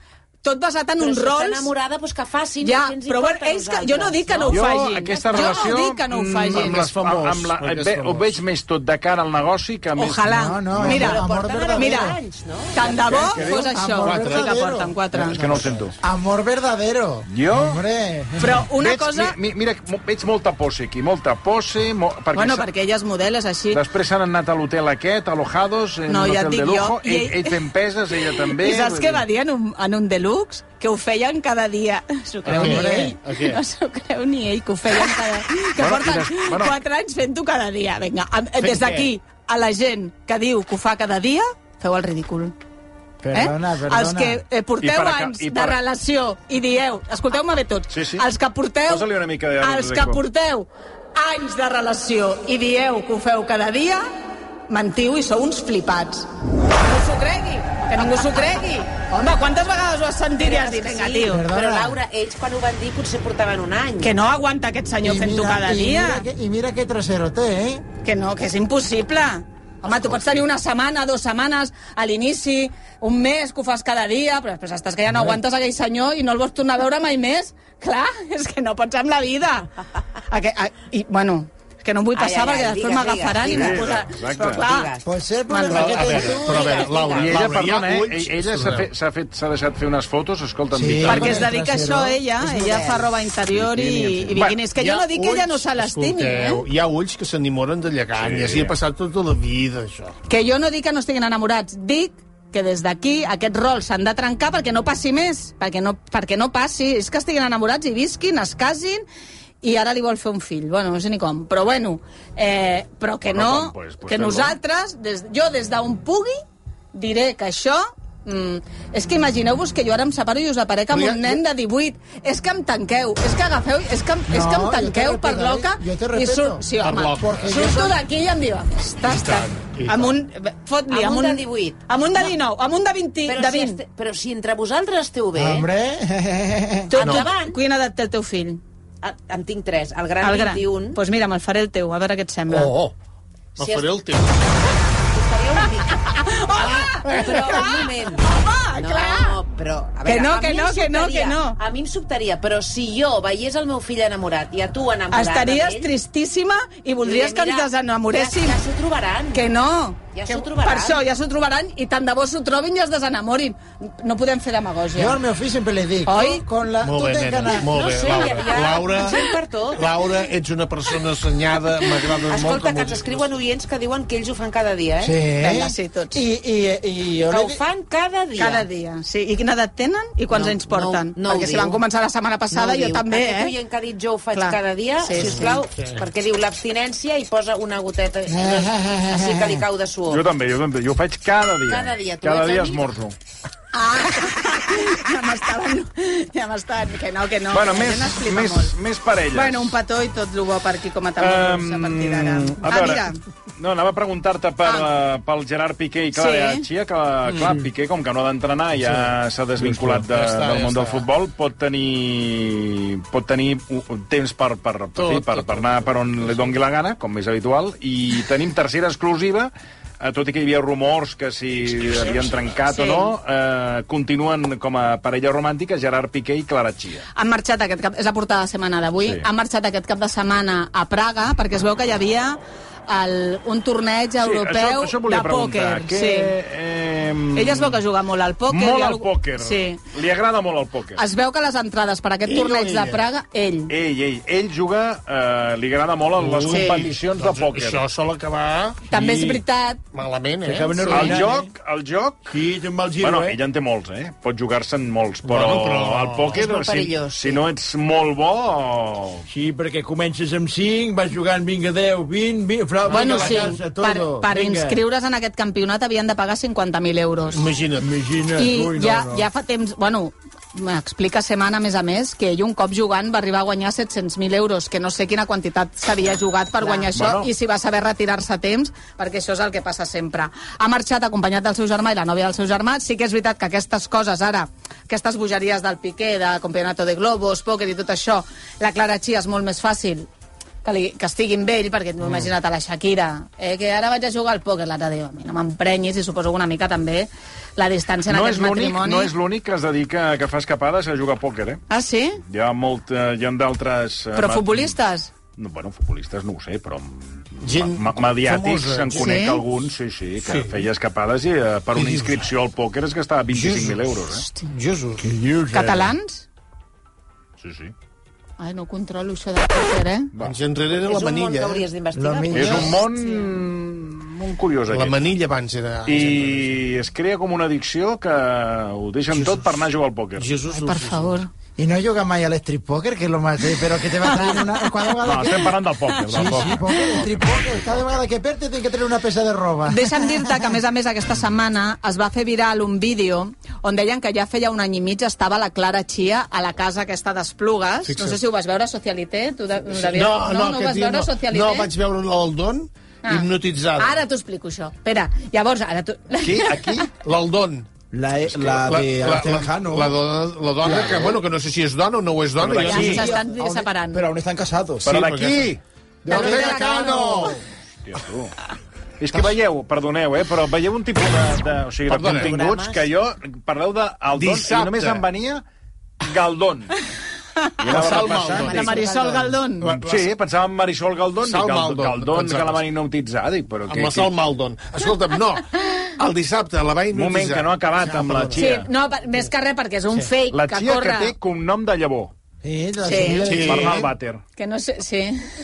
tot basat en
Però
uns
si està
rols...
enamorada, doncs que facin.
Ja,
què ens
però bueno,
importa a
ells que, jo no dic que no ho
Jo,
facin.
aquesta
jo
relació...
no dic que no ho
mm,
facin.
Amb les,
És famós,
amb, amb la,
perquè és
ve, ho
famós.
veig més tot de cara al negoci que més...
Ojalà.
No, no,
mira,
amor
porten
verdadero.
mira,
anys, no?
tant de bo
Què diu?
fos això.
Amor
Sí que
verdadero.
porten quatre.
És que no ho sento.
Amor verdadero.
¿Yo?
Hombre.
Però una
veig,
cosa...
Mi, mi, mira, mo- veig molta pose aquí, molta pose... Mo, perquè
Bueno,
s'ha-
perquè ella és model, és així.
Després s'han anat a l'hotel aquest, alojados, en
No,
un
ja et
hotel de
dic jo,
lujo,
i
ell,
ell-
ell fent peses, ella també...
I saps
vull
què
dir-
va dir en un, en un deluxe? Que ho feien cada dia. No S'ho creu
Ah,
ni
hombre,
ell.
a què?
No s'ho creu ni ell, que ho feien cada dia. Que
eh? Bueno, i
bueno, porten
des- bueno.
bueno. 4 anys fent-ho cada dia. Vinga, am- eh, des
què?
d'aquí, a la gent que diu que ho fa cada dia, feu el ridícul.
Perdona, perdona.
Els que eh,
I
porteu
per aca-
anys
i
de
per-
relació i dieu... Escolteu-me bé tots.
Sí, sí.
Els que porteu...
Posa-li una mica de
Els que
ritme.
porteu anys de relació i dieu que ho feu cada dia, mentiu i sou uns flipats. Que ningú s'ho cregui, que ningú s'ho cregui. Home, quantes vegades ho has sentit i has dit, vinga, tio,
Perdona.
Però, Laura, ells quan ho van dir potser portaven un any.
que no aguanta aquest senyor fent-ho cada
y
dia,
Mira que, y mira qué trasero té, ¿eh?
que no, que és impossible. Home, tu pots tenir una setmana, dues setmanes, a l'inici, un mes que ho fas cada dia, però després estàs que ja no aguantes aquell senyor i no el vols tornar a veure mai més. Clar, és que no pots amb la vida. Aque, a, I, bueno, que no em vull
Ai,
passar
ai, ai,
perquè després
digues,
m'agafaran i
digues.
m'ho
Sí, exacte.
posaran. Però clar,
Digues.
Pot ser el problema
Però,
que
a
té
veure, però a veure, Laura,
I ella,
Laura, hi ha
perdona, eh,
ulls...
ella s'ha
Perdoneu.
fet- s'ha fet, s'ha deixat fer unes fotos, escolta'm,
Sí.
Víctor.
perquè es
Bueno,
dedica a
trasero,
això ella,
és
ella
model.
fa roba interior i, i
Bueno,
biquinis. Que jo no dic que ella no se l'estimi, eh?
Escolteu, Hi ha ulls que s'enimoren de lleganyes
Sí.
i ha passat tota la vida, això.
Que jo no dic que no estiguin enamorats, dic que des d'aquí aquests rols s'han de trencar perquè no passi més, perquè no, perquè no passi. És que estiguin enamorats i visquin, es casin, i ara li vol fer un fill. Bueno, no sé ni com, però bueno. Eh, però que
Bueno,
no,
com, pues, pues
que
fem-lo.
nosaltres, des, jo des d'on pugui, diré que això... Mm, és que imagineu-vos que jo ara em separo i us aparec amb
Però ja-
un nen de 18. És que em tanqueu, és que agafeu, és que, em- és que em
No, jo te
tanqueu per
respeto,
loca
eh? Jo te
i
respeto.
surt... Sí,
Per
home,
loca.
Porque yo
surto
soy-
d'aquí i em diu... Estàs,
tant, i
amb
tant.
un... Fot-li,
Amb
amb,
un de
un
18.
Amb un de 19, amb un de 20.
Però,
de
si
20.
este, però si entre vosaltres esteu
¿eh?
bé...
Ah,
Hombre...
tu,
Endavant.
tu, quina edat té el teu fill?
eh, En tinc tres. El gran,
El gran.
21.
Doncs pues mira, me'l faré el teu, a veure què et sembla.
Oh, me
Si
faré
es-
el temps.
Estaria una mica... Home! Però, un moment.
Home,
no,
clar.
però... A
Que
veure,
no,
a
que
mi em
no, que no,
sobtaria,
que no.
A mi em sobtaria, però si jo veiés el meu fill enamorat i a tu enamorat
Estaries
d'ell,
tristíssima i voldries
diria,
que ens
mira,
desenamoréssim.
Ja, ja s'ho trobaran.
Que no.
Ja
Que
s'ho trobaran.
Per això, ja s'ho trobaran i tant de bo s'ho trobin i es desenamorin. No podem fer
Yo
demagògia.
al meu fill sempre li dic...
Oi?
Con la...
Molt
tu
bé,
tens
nena,
ganas...
molt
No
bé,
sé,
Laura.
hi ha- hi ha
Laura,
gent per tot.
Laura, ets una persona assenyada, m'agrada molt
Escolta,
com
que
ho
ens
dius.
escriuen oients que diuen que ells ho fan cada dia, eh?
Sí.
Vinga, sí, tots.
I, i, i jo
Que
li
ho
dic...
fan cada dia.
Cada dia. Sí. I quina edat tenen i quants
No,
anys porten?
no, no ho
Perquè si
diu.
van començar la setmana passada,
ho
jo
diu.
també,
Aquest
eh?
oient que ha dit jo ho faig
Clar.
cada dia,
Sí,
sí, sisplau, sí. perquè diu l'abstinència i posa una goteta així que li cau de suor.
Jo també, jo també. Jo ho faig cada dia.
Cada dia. Tu
Cada
ets
dia
amic?
esmorzo.
Ah, ja m'estaven... Ja m'estaven... Que no, que no.
Bueno,
La
més,
gent es flipa
més,
molt.
més parelles.
Bueno, un petó i tot el bo per aquí com a tamborros um, a partir d'ara.
Em, a
Ah,
veure,
mira,
no, anava a preguntar-te per, ah. pel Gerard Piqué i Clara
Sí.
sí. Chia, que clar, mm. Piqué, com que no ha d'entrenar, ja s'ha desvinculat
Just,
de,
ja està,
del
ja
món del
està.
futbol, pot tenir, pot tenir u- u- temps per, per, per,
Tot,
fi, per,
tot,
per
tot,
anar
tot.
per on li dongui la gana, com és habitual, i tenim tercera exclusiva, eh, tot i que hi havia rumors que si havien trencat
sí.
o no, eh, continuen com a parella romàntica Gerard Piqué i Clara Chia.
han marxat aquest cap... És la portada de setmana d'avui.
Sí.
Sí. Han marxat aquest cap de setmana a Praga perquè es veu que hi havia el, un torneig
això,
europeu
això volia
de pòquer.
preguntar. Que,
Sí.
eh,
Ella es veu que juga molt al pòquer. hi
Molt
ha
al
algú-
pòquer.
Sí.
Li agrada molt el pòquer.
Es veu que les entrades per aquest
Ell o
torneig de
ella?
Praga, ell.
Ell, ell, ell juga, eh, li agrada molt a les
Ui,
competicions
doncs
de pòquer.
Això sol acabar...
També és
i-
veritat.
Malament, eh?
Acaben
El
arruïnant,
joc, el joc...
Sí, té un mal giro,
Bueno,
eh?
ell en té molts, eh? Pot jugar-se'n molts, però,
Bueno, però-
el pòquer,
És molt
si,
perillós, sí.
si no ets molt bo... o-
Sí, perquè comences amb 5, vas jugant, vinga, 10, 20, 20... Fra,
Bueno,
vinga, la
sí,
casa, todo.
per, per
Vinga.
inscriure's en aquest campionat havien de pagar 50.000 euros.
Imagina't.
Imagina't,
I
ui, no,
ja,
no.
ja fa temps... Bueno, m'explica Semana, a més a més, que ell un cop jugant va arribar a guanyar 700.000 euros, que no sé quina quantitat s'havia jugat per guanyar això,
Bueno.
i si va saber retirar-se a temps, perquè això és el que passa sempre. Ha marxat acompanyat del seu germà i la nòvia del seu germà. Sí que és veritat que aquestes coses ara, aquestes bogeries del Piqué, de Campeonato de Globos, pòquer i tot això, la Clara Chia és molt més fàcil que, li, que estigui amb ell, perquè m'he imagina't a la Shakira, eh, que ara vaig a jugar al pòquer, l'altre diu, a mi no m'emprenyis, i suposo que una mica també la distància en
No és
aquest
l'únic
matrimoni...
no és l'únic que es dedica, que fa escapades a jugar a pòquer, eh?
Ah, sí?
Hi ha, molt, eh, hi ha d'altres... eh,
Però
mat-
futbolistes?
No, bueno, futbolistes no ho sé, però Gent
Gent
mediàtics
famosa.
en conec
Sí?
algun, sí, sí, que
Sí.
feia escapades i eh, per una inscripció al pòquer es gastava 25.000 euros, eh?
Jesús.
Catalans?
Sí, sí.
Ai, no controlo això del pòquer, eh?
Anys enrere era
És
la
un món que
manilla. eh?
hauries d'investigar.
La mi-
És un món molt curiós,
La
aquest.
manilla abans era...
I es crea com una addicció que ho deixen tot per anar a jugar al pòquer.
Jesús,
Ai, per
Jesús.
favor.
Y no juega más al strip poker, que es lo más... eh, Pero que te va a traer una... Cuando haga la
No,
que-
estem parlant del pòquer,
Sí,
del
sí,
pòquer.
poker, el strip poker. Cada vegada que perd, tiene que tener una pesa de roba.
Deixa'm dir-te que, a més a més, aquesta setmana es va fer viral un vídeo on deien que ja feia un any i mig estava la Clara Chia a la casa aquesta d'Esplugues. No sé si ho vas veure, Socialité? Tu de, ho devies- no,
No, no,
no ho
aquest
vas
dia
veure,
no.
Socialité?
No, vaig veure l'Aldon
Ah.
hipnotitzada.
Ara t'ho explico, això. Espera, llavors, ara tu...
Aquí, aquí, l'Aldon.
La, e- la de Alejandro Jano.
la, dona, la dona que, bueno, que no sé si és dona o no ho és dona.
Però
Ja
jo
d'aquí-
no sé.
s'estan
Aún-
separant.
Pero aún están casados.
Però
Sí,
d'aquí...
Alejandro Jano!
Hòstia, tu. És que veieu, perdoneu, eh, però veieu un tipus de, de, o sigui, de
Perdona.
continguts que jo... Parleu d'Aldon i
Dissabte.
només em venia Galdon. I anava
Salma
repassant.
Aldon.
La Marisol Galdón.
Mm, Sí, pensava en Marisol Galdón,
Salma
i Galdón,
Aldon,
Galdón que
exacte.
la van hipnotitzar. Dic, però
Amb
què,
la Sal Maldon. Escolta'm, no. El dissabte la va
Un
hipnotitzar.
moment, que no ha acabat amb la
Sí,
Chia.
no, per- més que res, perquè és un fake
La
que
Chia
corre...
que té cognom de llavor.
Sí, de la
Sí.
sí.
Sí.
Bernal Vàter.
Que no sé, sí.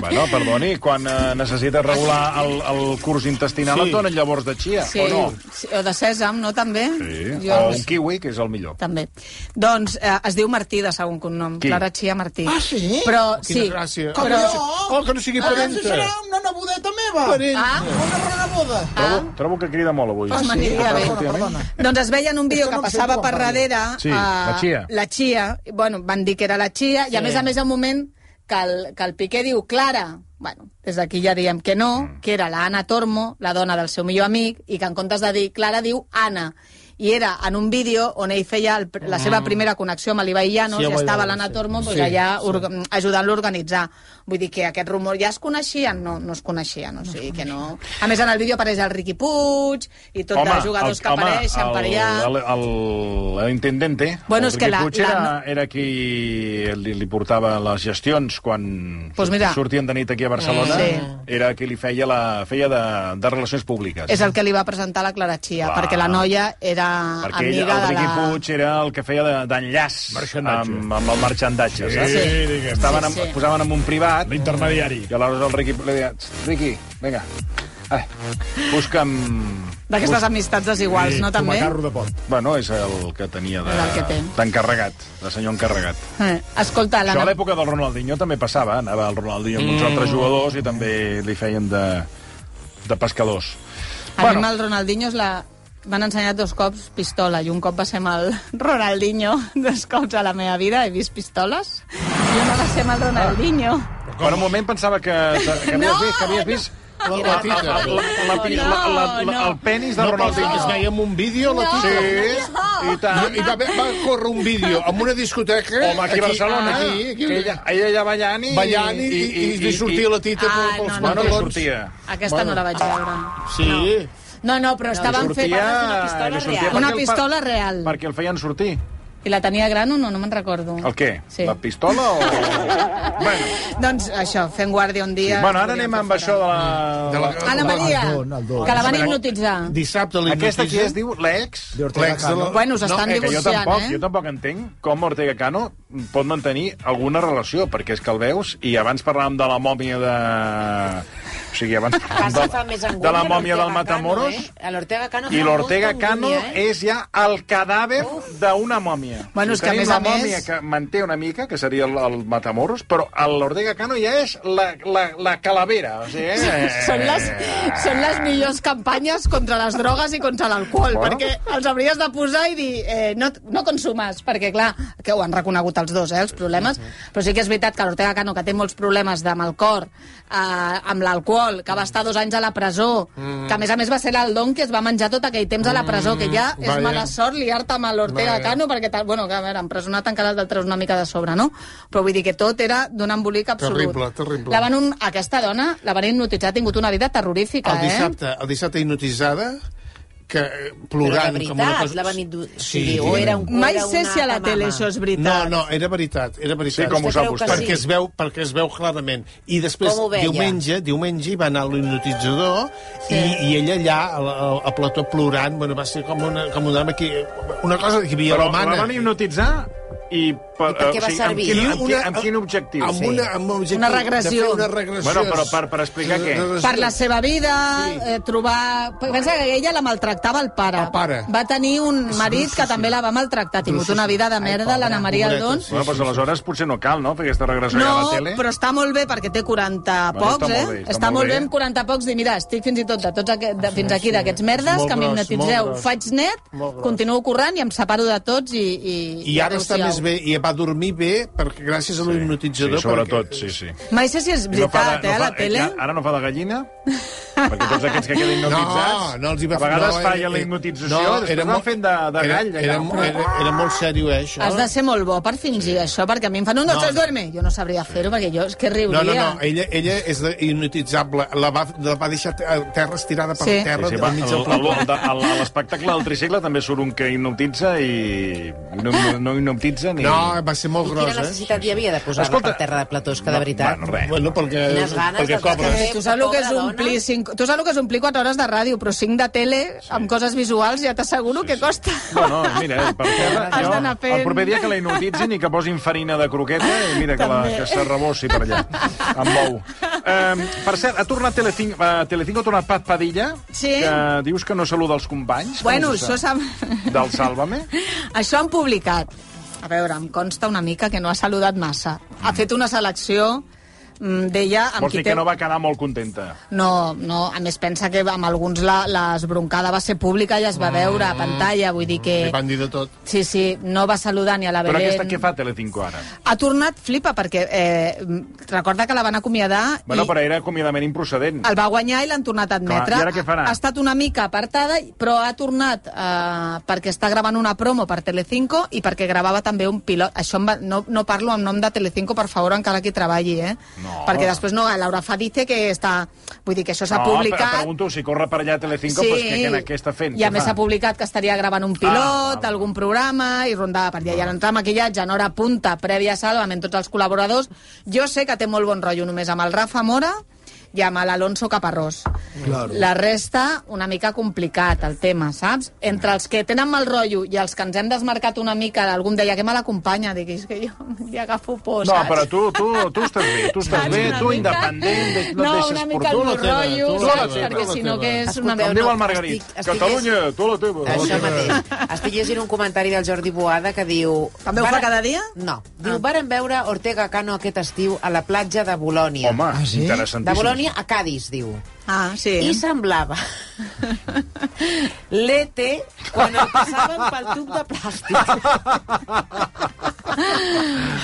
Bueno, perdoni, quan eh, necessites regular el, el curs intestinal
Sí.
et donen llavors de chia,
sí.
o no?
Sí, o de sèsam, no, també?
Sí.
Jo,
O un kiwi, que és el millor.
També. Doncs eh, es diu Martí, de segon cognom.
Qui?
Clara Chia Martí.
Ah, sí?
Però,
Quina
sí.
gràcia.
Com
Però...
jo?
Oh, que no sigui
Abans
parenta.
serà una nebudeta meva.
Parenta.
Ah,
Una rebuda.
Trobo, trobo que crida molt avui.
Ah, sí?
m'aniria
Ah,
bé.
perdona, perdona.
Doncs es veia en un vídeo
Això
que
no ho sé
passava
quan
per
parlo.
darrere...
Sí,
eh,
la Chia.
La Chia. i, Bueno, van dir que era la Chia, i a més a més, un moment que el, que el Piqué diu, Clara, bueno, des d'aquí ja diem que
Mm.
no, que era la Anna Tormo, la dona del seu millor amic, i que en comptes de dir Clara diu Anna. I era en un vídeo on ell feia el, pr- la
Mm.
seva primera connexió amb l'Ibai Llanos
Sí,
sí,
ho
i
vaig
estava
veure,
l'Anna
sí.
Tormo pues,
Sí,
allà orga- ajudant-lo a organitzar. Vull dir que aquest rumor ja es coneixien? No, no es coneixien, o sigui que no... A més, en el vídeo apareix el Riqui Puig i tot de jugadors que apareixen per allà...
El, el, el intendente,
Bueno,
el
és que la-
Puig, era,
la-
era qui li, li portava les gestions quan
Pues mira.
sortien de nit aquí a Barcelona.
Sí.
Era qui li feia, la, feia de, de relacions públiques.
És el que li va presentar la Clara Chia,
Clar.
perquè la noia era
perquè ell,
amiga
el
de
Riqui
la...
Puig era el que feia de- d'enllaç de, amb, amb el marxandatge, saps?
Sí,
diguem. Estaven amb,
Sí, sí.
posaven en un privat... L'intermediari. I aleshores el Riqui li deia, Riqui, vinga, a veure, busca'm...
D'aquestes amistats desiguals, no, també?
de pot.
Bueno, és el que tenia de-
És el que té.
d'encarregat, de, senyor encarregat.
Eh, Escolta,
Això a
la...
l'època del Ronaldinho també passava, anava el Ronaldinho amb uns altres jugadors i també li feien de, de pescadors.
A mi amb el Ronaldinho és la... M'han ensenyat dos cops pistola i un cop va ser amb el Ronaldinho. Dos cops a la meva vida he vist pistoles i una va ser
Ah.
amb el Ronaldinho.
Per un moment pensava que, que havies
No,
vist, que havies vist
La, la
la,
tita.
la, la, la, la, la, el penis de
No, però es
Ronaldinho.
veia en un vídeo, la tita.
Sí, i tant.
I va, haver- va córrer un vídeo en una discoteca...
Home, aquí a Barcelona,
Aquí, aquí,
que ella, ella ja ballant i...
ballant i, i, i, li sortia la tita
Ah,
pel-
no,
pels
no,
Bueno, li
pantalons.
sortia.
Aquesta no la vaig veure.
Sí.
No, no, però estaven fent...
li sortia
real.
perquè
Una
el-
pistola real.
Perquè el feien sortir.
I la tenia gran o no? No me'n recordo.
El què?
Sí.
La pistola o... bueno,
Doncs això, fent guàrdia un dia...
bueno, ara anem amb això de la...
De la...
Anna Maria,
El don, el don.
que la van hipnotitzar.
Dissabte li
Aquesta qui és, diu, l'ex?
Ortega
L'ex de la...
Bueno, us estan
eh,
Que jo
Divorciant,
tampoc,
eh?
jo tampoc entenc com Ortega Cano pot mantenir alguna relació, perquè és que el veus, i abans parlàvem de la mòmia de... O sigui, abans parlàvem
Casa fa més
de,
angúnia
de la mòmia del
l'Ortega Cano,
Matamoros,
eh? L'Ortega Cano
i
fa
l'Ortega
molta
Cano
angúnia, eh?
és ja el cadàver d'una mòmia.
Bueno,
O sigui,
és que a
tenim
més a
la mòmia
més-
que manté una mica, que seria el, el Matamoros, però el- l'Ortega Cano ja és la, la, la calavera. O sigui, eh?
Són les, són les millors campanyes contra les drogues i contra l'alcohol,
Bueno.
perquè els hauries de posar i dir eh, no, no consumes, perquè clar, que ho han reconegut els dos, eh, els problemes, però sí que és veritat que l'Ortega Cano, que té molts problemes de mal cor, eh, amb l'alcohol, que va estar dos anys a la presó, que a més a més va ser l'Aldon que es va menjar tot aquell temps a la presó, que ja és
Vaja.
mala sort liar-te amb l'Ortega
Vaja.
Cano, perquè, tal, bueno, que, a veure, empresonat encara el del treus una mica de sobre, no? Però vull dir que tot era d'un embolic absolut.
Terrible, terrible.
La van un, aquesta dona la van hipnotitzar, ha tingut una vida terrorífica, eh?
El dissabte, el dissabte hipnotitzada, que eh,
Però
plorant...
de veritat,
com una cosa...
la van hipno-
Sí,
sí, o era un
eh? Mai
Era
sé
una
si a la
camama.
tele això és
No,
veritat.
no, era veritat, era veritat.
Sí, com ho
Vostè
sap
creu que
vostè?
perquè es veu perquè es veu clarament i després
Com ho veia?
diumenge diumenge hi va anar l'hipnotitzador sí. i, i ella allà a, la- a, a plató plorant bueno, va ser com una, com una, aquí, una cosa que hi havia
Però
romana
la van hipnotitzar i... Per,
per què va
amb,
servir?
quin, amb,
Una-
quin, amb quin objectiu?
amb, una, amb un objectiu
Una regressió.
de fer una regressió
Bueno, però per- per explicar què?
Per la seva vida, eh, trobar... Pensa que ella la maltractava el pare.
El pare.
Va tenir un marit
sí,
que
sí.
també la va maltractar. Ha tingut
Sí, sí.
una vida de
Ai,
merda,
pobra,
l'Anna Maria
pobreta,
Aldón.
sí.
Bueno, doncs aleshores potser no cal, no?, fer aquesta regressió a la
No,
tele.
però està molt bé perquè té 40
Bueno,
pocs,
està
eh?
molt bé, està
està
molt
molt
bé.
bé amb 40 pocs dir, mira, estic fins i tot de tots aquest, de, fins aquí d'aquests merdes
Molt
que
gros, molt
m'hipnotitzeu.
gros.
Faig net,
Molt gros.
continuo corrent i em separo de tots i... I,
i ara està més bé i va dormir bé perquè gràcies a
Sí,
l'hipnotitzador
sobretot,
perquè...
sí, sí.
Mai sé si és veritat,
no
eh, a la
fa-
tele.
ja- Ara no fa de gallina? Perquè tots aquests que queden hipnotitzats...
No, no els hi
A
va
vegades
no,
falla la hipnotització, no, després van
molt-
fent de, de
era,
gall.
Era, era, mo- era, era molt sèrio, eh, això.
Has de ser molt bo per fingir això, perquè a mi em fan un, dos,
No,
tres,
no.
duerme. Jo no sabria fer-ho, perquè jo és que riuria.
No, no, no, ella, ella és de- hipnotitzable. La va, la va deixar te- a terra estirada per
Sí.
terra
Sí, sí,
del
va,
mig
el-
del
el-
poble.
el- el- a l'espectacle del tricicle també surt un que hipnotitza i no, no, no hipnotitza ni...
No, va ser molt
I quina
gros, eh?
necessitat hi havia de posar
Escolta-
Escolta... per terra de platós, que de veritat...
Bueno, res. eh,
Bueno, perquè,
Quines ganes
perquè
de-
cobres.
Eh, tu saps el que és
Pobra
omplir
dona.
cinc... Tu saps el que és omplir 4 hores de ràdio, però 5 de tele, amb coses visuals, ja t'asseguro que costa.
No, no, mira, eh, per terra,
Has
jo,
d'anar fent.
el proper dia que la hipnotitzin i que posin farina de croqueta i mira que, la, que se rebossi per allà, amb ou. Um, per cert, ha tornat Telecinco, uh, Telecinco ha tornat Pat Padilla,
Sí.
que dius que no saluda els companys.
Bueno,
Com és
això sap...
Del Sálvame?
Això han publicat. A veure, em consta una mica que no ha saludat massa. Ha fet una selecció mm, d'ella amb
Vols
qui
dir
té...
que no va quedar molt contenta?
No, no, a més pensa que amb alguns la- l'esbroncada va ser pública i es va veure
Mm.
a pantalla, vull dir que...
Li van dir de tot.
Sí, sí, no va saludar ni a la
Però
Belén.
aquesta què fa Telecinco ara?
Ha tornat flipa, perquè eh, mm, recorda que la van acomiadar
Bueno,
i
però era acomiadament improcedent.
el va guanyar i l'han tornat a admetre.
Clar, i ara què farà?
Ha estat una mica apartada, però ha tornat eh, perquè està gravant una promo per Telecinco i perquè gravava també un pilot. Això em va, no, no parlo en nom de Telecinco, per favor, encara que hi treballi, eh?
No.
Perquè després no, Laura Fa dice que està... Vull dir que això s'ha
No,
publicat...
pre- pregunto si corre per allà a Telecinco, sí. pues, què, què, què està fent?
I a
Què
més
fa?
s'ha publicat que estaria gravant un
Ah,
pilot
val.
d'algun programa i rondava per allà. I ara entrar maquillatge en hora punta, prèvia salva, amb tots els col·laboradors. Jo sé que té molt bon rotllo només amb el Rafa Mora i amb l'Alonso Caparrós.
Claro.
La resta, una mica complicat, el tema, saps? Entre els que tenen mal rotllo i els que ens hem desmarcat una mica, algú em deia que me l'acompanya, dic, és que jo li agafo por,
No,
saps?
però tu, tu, tu estàs bé, tu estàs
Saps?
bé,
Una
tu
mica-
independent, de- no, et
no, una
deixes
mica el
portar.
la
mal
teva,
rotllo,
tu la
saps? Perquè
teva, tu la
si no
teva.
que és una...
Com
Escolteu,
merda.
diu
no,
el Margarit,
estic- estic-
Catalunya, tu la teva.
Això mateix. Estic llegint un comentari del Jordi Boada que diu...
També ho fa
"Varen-
cada dia?"
No. Diu, ah. varen veure Ortega Cano aquest estiu a la platja de Bolònia.
Home,
Ah, sí?
De
interessantíssim.
Bolònia a Cádiz, diu.
Ah, sí.
I semblava l'ET quan el passaven pel tub de plàstic.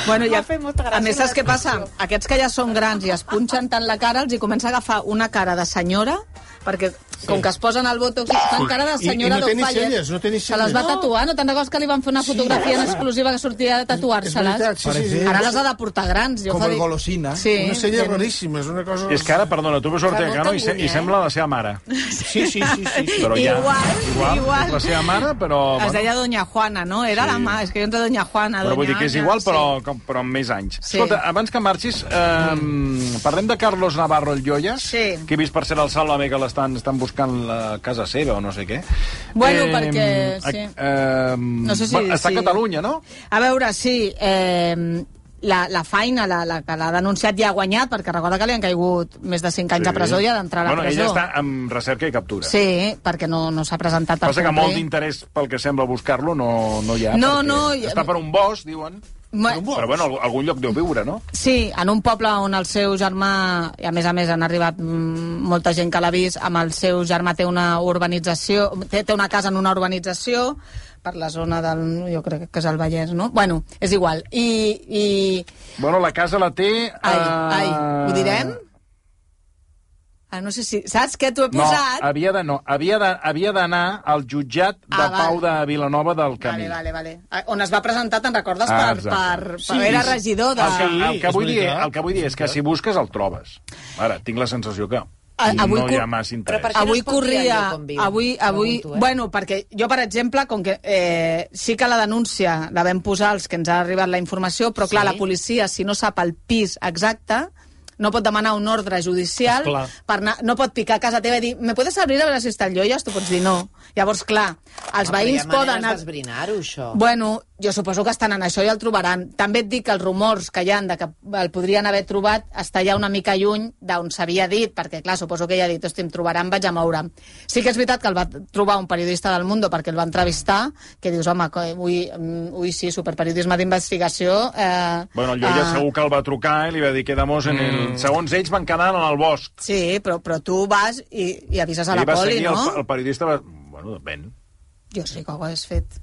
Bueno, ja
M'ha fet molta gràcia
A més,
la
saps què passa?
descripció.
Aquests que ja són grans i es punxen tant la cara, els hi comença a agafar una cara de senyora, perquè com que es posen el botox i fan cara de
I- i
senyora
no té ni
d'Ofalle,
celles, no té ni
se les va
celles.
tatuar, no te'n recordes que li van fer una fotografia en exclusiva que sortia de
És
tatuar-se-les?
veritat, sí, sí, sí.
Ara les ha de portar grans. Jo
Com
fa
el
dir-
golosina.
Sí.
Una sella
gent-
raríssima, és una cosa...
És que ara, perdona, tu veus Ortega
molta
Cano i, se,
angúnia,
i
eh?
sembla la seva mare.
Sí, sí, sí, sí. sí.
Però ja,
Igual,
igual,
igual.
és La seva mare, però...
Es
Bueno,
deia Doña Juana, no? Era la mà, és que jo entre Doña Juana,
però vull
Doña
dir que és
Ana,
igual,
sí.
però, com, però amb més anys.
Sí.
Escolta, abans que marxis, eh, parlem de Carlos Navarro el Lloyas,
Sí.
que he vist per ser el Salvame, que l'estan estan buscant la casa seva o no sé què. Ehm,
Bueno, perquè- sí.
ac- Eh, no
sé si-
està
si-
a Catalunya, no?
A veure, sí, eh, la, la feina, la, la que l'ha denunciat ja ha guanyat, perquè recorda que li han caigut més de 5 anys sí. a presó i ha d'entrar a la
bueno,
presó.
Ella està en recerca i captura.
Sí, perquè no, no s'ha presentat per
Passa que molt
complir.
d'interès pel que sembla buscar-lo no, no hi ha.
No,
perquè
no, i-
Està per un bosc, diuen.
Ma-
Però bueno, al- algun lloc deu viure, no?
Sí, en un poble on el seu germà, i a més a més han arribat mm, molta gent que l'ha vist, amb el seu germà té una urbanització, té, té una casa en una urbanització, per la zona del... jo crec que és el Vallès, no? Bueno, és igual. I... i
Bueno, la casa la té...
ai,
eh,
ai, ho direm? Ah, no sé si... Saps què t'ho he
No,
posat?
havia de, no, havia de- havia d'anar al jutjat de
Ah,
Pau de
val.
Vilanova del Camí.
Vale, vale, vale. Ah, On es va presentar, te'n recordes,
Ah,
per,
exacte.
per, per... era regidor de...
El que, el, que
és
vull dir,
veritat.
el que vull dir és que si busques el trobes. Ara, tinc la sensació que
A- avui
no hi ha
cor-
massa
Però per
interès.
què
avui
no es pot triar
corria...
allò com viu?
Avui, avui,
Pregunto, eh?
Bueno, perquè jo, per exemple, com que eh, sí que la denúncia la vam posar als que ens ha arribat la informació, però clar,
Sí.
la policia, si no sap el pis exacte, no pot demanar un ordre judicial,
Esclar.
per anar, no pot picar a casa teva i dir me puedes abrir a veure si està el lloyes? Tu pots dir no. Llavors, clar, els
Home, però hi ha
veïns poden...
maneres d'esbrinar-ho, això.
Bueno, jo suposo que estan en això i el trobaran. També et dic que els rumors que hi ha de que el podrien haver trobat està ja una mica lluny d'on s'havia dit, perquè, clar, suposo que ella ha dit, hosti, em trobaran, vaig a moure'm. Sí que és veritat que el va trobar un periodista del Mundo perquè el va entrevistar, que dius, home, que ui, mm, ui sí, superperiodisme d'investigació... Eh,
Bueno, el Lloya
eh,
segur que el va trucar i li va dir quedamos en el...
Mm.
Segons ells van quedar en el bosc.
Sí, però, però tu vas i, i avises a
I
la
va
poli,
seguir
no?
el, el periodista va... Bueno, depèn.
Jo sé que ho has fet.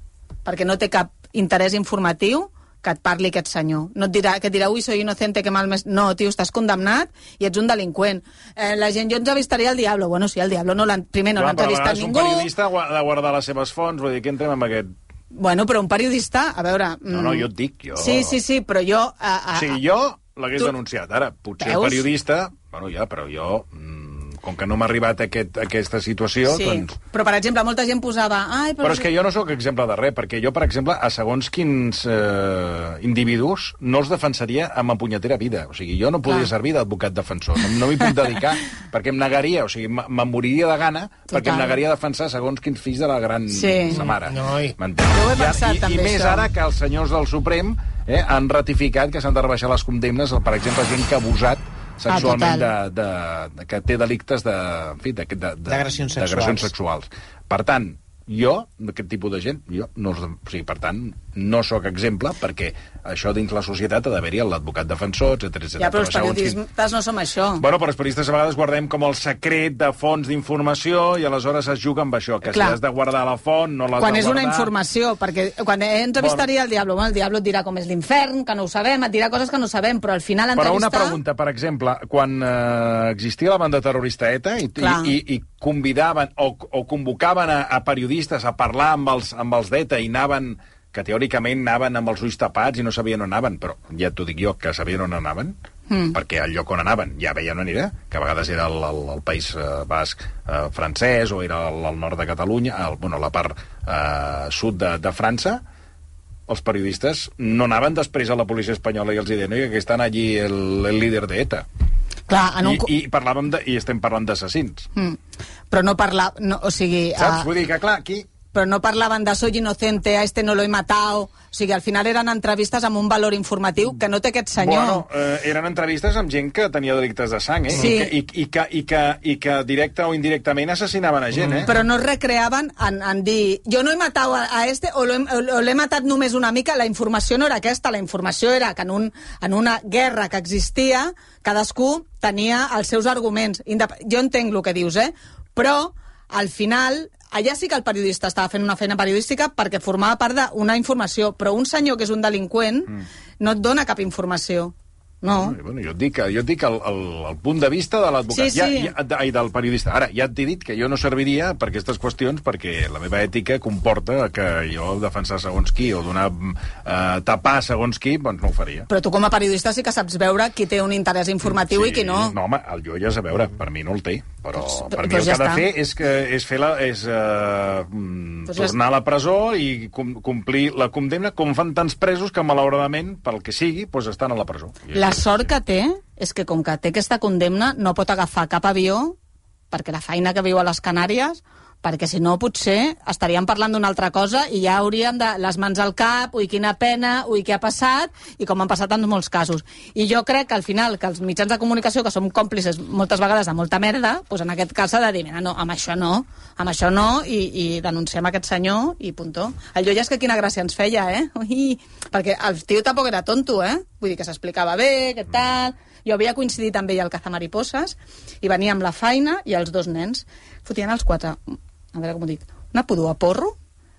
Perquè no té cap interès informatiu que et parli aquest senyor. No et dirà, que et dirà, ui, soy inocente, que mal més... No, tio, estàs condemnat i ets un delinqüent. Eh, la gent, jo entrevistaria el diablo. Bueno, sí, el diablo no l'han... Primer, no l'ha
Clar, però a
entrevistat
vegades
ningú.
Un periodista ha de guardar les seves fonts, vull dir, que entrem amb aquest...
Bueno, però un periodista, a veure... mm,
No, no, jo et dic, jo...
Sí, sí, sí, però jo... A, a,
O sigui, jo l'hagués
Tu-
denunciat. Ara, potser el
Veus?
periodista... Bueno, ja, però jo... mm, Com que no m'ha arribat aquest, aquesta situació,
sí.
doncs...
Però, per exemple, molta gent posava... Ai, però,
Però és que jo no sóc exemple de res, perquè jo, per exemple, a segons quins eh, individus no els defensaria amb ma punyetera vida. O sigui, jo no podria servir d'advocat defensor, no, no m'hi puc dedicar, perquè em negaria, o sigui, me- me'n moriria de gana, Total. perquè em negaria a defensar segons quins fills de la gran
Sí.
sa mare.
Noi.
M'entens?
Jo ho he pensat,
I,
també,
I més
això.
ara que els senyors del Suprem eh, han ratificat que s'han de rebaixar les condemnes, per exemple, gent que ha abusat sexualment de,
Ah, total.
de, de, que té delictes de, en fi, de, de, de-
D'agressions sexuals.
d'agressions sexuals. Per tant, jo, aquest tipus de gent, jo no, els- o sigui, per tant, no sóc exemple, perquè això dins la societat ha d'haver-hi l'advocat defensor, etc etc.
Ja, però els periodistes no som això.
Bueno, però els periodistes a vegades guardem com el secret de fonts d'informació i aleshores es juga amb això, que
Clar.
si has de guardar la font, no l'has
quan
de
és una
guardar...
informació, perquè quan entrevistaria el Diablo, bueno, el Diablo et dirà com és l'infern, que no ho sabem, et dirà coses que no sabem, però al final
Però una
entrevistar...
pregunta, per exemple, quan eh, existia la banda terrorista ETA i, i,
Clar.
i, i convidaven o, o convocaven a, a periodistes a parlar amb els, amb els d'ETA i anaven que teòricament anaven amb els ulls tapats i no sabien on anaven, però ja t'ho dic jo, que sabien on anaven, mm. perquè el lloc on anaven ja veien on era, que a vegades era el, el, el País eh, Basc eh, francès o era el, el nord de Catalunya, el, bueno, la part eh, sud de, de França, els periodistes no anaven després a la policia espanyola i els hi deien "Oiga, que estan allí el, el líder d'ETA.
Clar, en un...
I, I, parlàvem de, I estem parlant d'assassins.
I... Però no parla... No, o sigui...
Saps?
ah,
Vull dir que, clar, aquí...
Però no parlaven de soy inocente, a este no lo he matado... O sigui, al final eren entrevistes amb un valor informatiu que no té aquest senyor.
Bueno, eh, eren entrevistes amb gent que tenia delictes de sang, eh?
Sí.
I, que, i, i, que, i, que, I que directa o indirectament assassinaven a gent, eh?
Mm. però no es recreaven en, en dir jo no he matat a, a este o l'he- o l'he matat només una mica, la informació no era aquesta, la informació era que en, un, en una guerra que existia cadascú tenia els seus arguments. Indep jo entenc el que dius, eh? Però al final allà sí que el periodista estava fent una feina periodística perquè formava part d'una informació, però un senyor que és un delinqüent no et dona cap informació. No.
Ai, Bueno, jo et dic, jo et dic el, el, el punt de vista de l'advocat
Sí,
ja,
sí.
ja, de- ai, del periodista. Ara, ja t'he dit que jo no serviria per aquestes qüestions perquè la meva ètica comporta que jo defensar segons qui o donar eh, tapar segons qui, doncs no ho faria.
Però tu com a periodista sí que saps veure qui té un interès informatiu i qui no.
No, home, el jo ja és a veure, per mi no el té, però
Doncs-
per mi
doncs
el que
ja
ha de
està.
fer és, que, és, fer la, és eh, mm,
Doncs ja
tornar a la presó i com, complir la condemna, com fan tants presos que, malauradament, pel que sigui, doncs estan a la presó. I
La
això és-
sort que té és que com que té aquesta condemna no pot agafar cap avió perquè la feina que viu a les Canàries perquè si no potser estaríem parlant d'una altra cosa i ja hauríem de les mans al cap, ui quina pena, ui què ha passat i com han passat en molts casos. I jo crec que al final que els mitjans de comunicació que som còmplices moltes vegades de molta merda, doncs en aquest cas s'ha de dir, mira, no, amb això no, amb això no i, i denunciem aquest senyor i puntó. El Lloya és que quina gràcia ens feia, eh? Ui, perquè el tio tampoc era tonto, eh? Vull dir que s'explicava bé, què tal... Jo havia coincidit amb ell al Cazamariposes i venia amb la feina i els dos nens. Fotien els quatre, a veure com ho dic, una pudor a porro,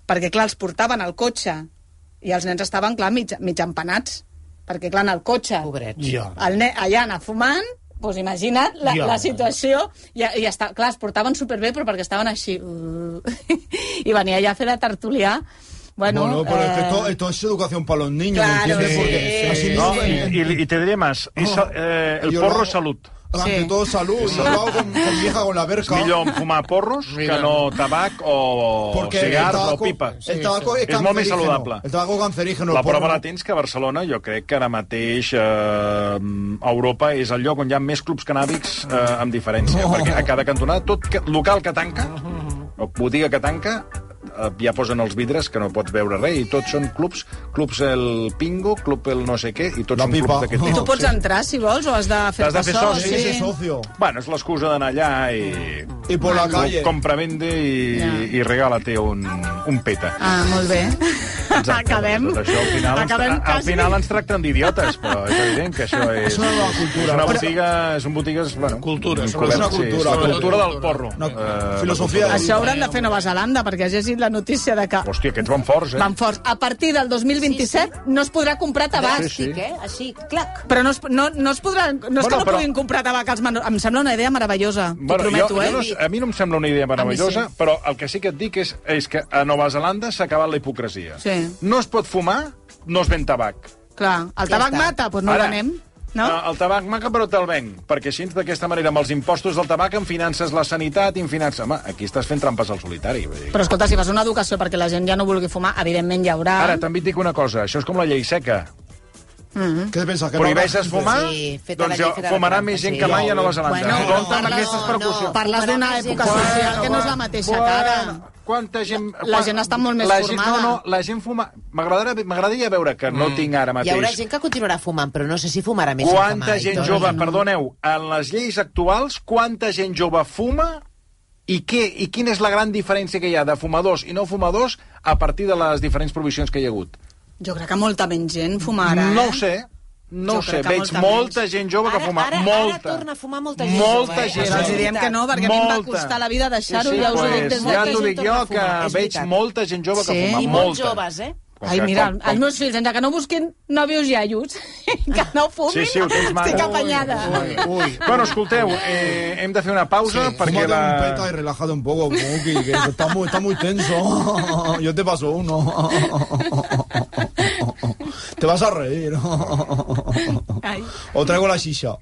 perquè clar, els portaven al cotxe i els nens estaven, clar, mig, mig empanats, perquè clar, en el cotxe,
Pobrets.
Jo.
el nen, allà anar fumant, doncs imagina't la,
Ja.
la situació, i, i està, clar, es portaven superbé, però perquè estaven així, uh, i venia allà a fer de tertulià, bueno...
Bueno, pero es que
eh,
esto, esto es educación para los niños,
Claro,
¿me entiendes?
sí,
Porque
sí,
así
No,
no, Oh.
i, i, i te diré més. És, eh, el
Jo no-
porro és salut.
ante
Sí.
todo salud. Yo lo hago con, con mi hija con la
És
verca.
millor fumar porros
Mira.
que no tabac o
Porque el
cigars o
tabaco,
pipes.
el tabaco es
És molt més
cancerígeno.
saludable.
El tabaco cancerígeno.
La
el porno
prova la
no.
tens que a Barcelona, jo crec que ara mateix eh, a Europa és el lloc on hi ha més clubs canàbics eh, amb diferència,
Oh.
perquè a cada cantonada, tot que, local que tanca, o botiga que tanca, eh, ja posen els vidres que no pots veure res, i tots són clubs, clubs el pingo, club el no sé què, i tots
La
són
pipa.
clubs d'aquest
Tu
tipus.
pots entrar, si vols, o has de fer,
Oh, T'has de fer soci,
Sí,
sí.
sí, socio.
Bueno, és l'excusa d'anar allà i...
Y por la calle.
Compra-vende i,
Ja.
i regala-te un, un peta.
Ah, molt bé.
Exacte,
Acabem.
doncs Això, al final,
Acabem
Acabem ens, al
quasi.
final ens tracten d'idiotes, però és evident que això és...
És una nova cultura.
És una
Però-
botiga... Són botigues... Bueno,
Cultura,
un
sobretot.
cobert,
És una
Sí, és
cultura.
la cultura del porro.
No,
Eh,
filosofia.
Això hauran de fer Nova Zelanda, perquè has llegit llegit la notícia de que
Hòstia, aquests van forts, eh?
van forts. A partir del 2027 no es podrà comprar tabac.
Sí, sí.
Plàstic, eh? Així, clac.
Però no es, no, no es podrà... No és bueno, que
Bueno,
no
però-
però... puguin comprar tabac als menors. Em sembla una idea meravellosa, t'ho prometo,
jo,
eh?
jo no, s- a mi no em sembla una idea meravellosa, sí. però el que sí que et dic és, és que a Nova Zelanda s'ha acabat la hipocresia.
Sí.
No es pot fumar, no es ven tabac.
Clar, el tabac
està.
mata, doncs no
Ara,
el venem. No?
eh, El tabac maca, però te'l venc. Perquè així, d'aquesta manera, amb els impostos del tabac, en finances la sanitat, en finances... Home, aquí estàs fent trampes al solitari. Vull dir.
Però escolta, si fas una educació perquè la gent ja no vulgui fumar, evidentment hi haurà...
Ara, també et dic una cosa, això és com la llei seca.
Què te penses? Que
Prohibeixes fumar,
Sí, feta la
doncs
llei,
jo-
feta la
fumarà
trampa,
més gent
sí.
que mai a Nova Zelanda.
Bueno,
Compte amb
parles-
aquestes
no,
percussions.
Parles d'una
Bueno,
època
bueno,
social que no és la mateixa, cara.
Quanta gent...
La gent està molt més
la
formada. Mm.
Gent, no, no, la gent fuma... M'agradaria m'agradaria veure que no tinc ara
Hi haurà
mateix...
gent que continuarà fumant, però no sé si fumarà més.
Quanta
fumar,
gent
Aitor.
jove, perdoneu, en les lleis actuals, quanta gent jove fuma i, què, i quina és la gran diferència que hi ha de fumadors i no fumadors a partir de les diferents provisions que hi ha hagut?
Jo crec que molta menys gent fuma ara, eh?
No ho sé, no
Jo
ho sé.
crec que
Veig
molta
molta
menys.
gent jove que
Ara-
fuma.
ara- ara
molta.
torna a fumar molta gent
molta
jove, eh?
Gent
Però els
Sí.
diem que no, perquè a mi em va
Molta.
costar la vida deixar-ho,
Sí,
ja us ho dic
pues,
des de...
ja
molta
t'ho
gent
dic jo,
torna a
que
fumar, és
veig
veritat.
molta gent jove que
Sí.
fuma.
I
molta.
molt joves, eh?
Com
Ai,
que-
mira,
com-
els
com-
meus fills, encara que no busquin nòvios iaios, que no fumin,
Sí, sí, ho tens mal.
estic apanyada.
Ui, ui. Bueno, escolteu, eh, hem de fer una pausa sí, perquè
Fúmate
la...
un peta y relájate un poco, Muki, que pues, está muy, está muy tenso. Yo te paso uno. Te vas a reír.
Ai.
O traigo la shisha.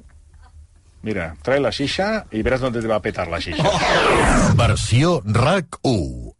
Mira, trae la xixa i veràs on te va a petar la xixa.
Versió RAC 1.